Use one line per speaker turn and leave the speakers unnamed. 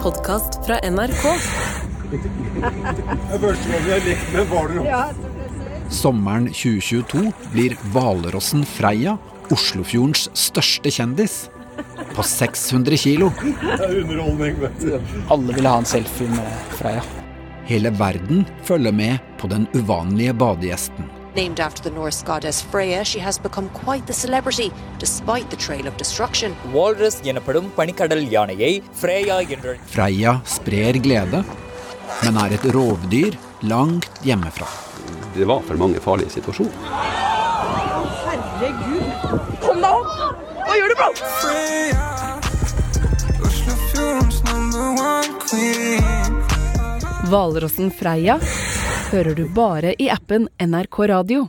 podkast fra NRK.
Det første gang jeg har lekt med hvaler.
Sommeren 2022 blir hvalrossen Freia Oslofjordens største kjendis. På 600 kilo.
Det er underholdning, vet du.
Alle ville ha en selfie med Freya.
Hele verden følger med på den uvanlige badegjesten.
Named after the Norse goddess Freya, she has become quite the celebrity despite the trail of destruction.
Walrus எனப்படும் பனிக்கடல் யானையை ஃப்ரேயா என்ற
Freia sprer glede, men er et rovdyr langt hjemmefra.
det var for mange farlige situasjoner.
Hvalrossen Freia hører du bare i appen NRK Radio.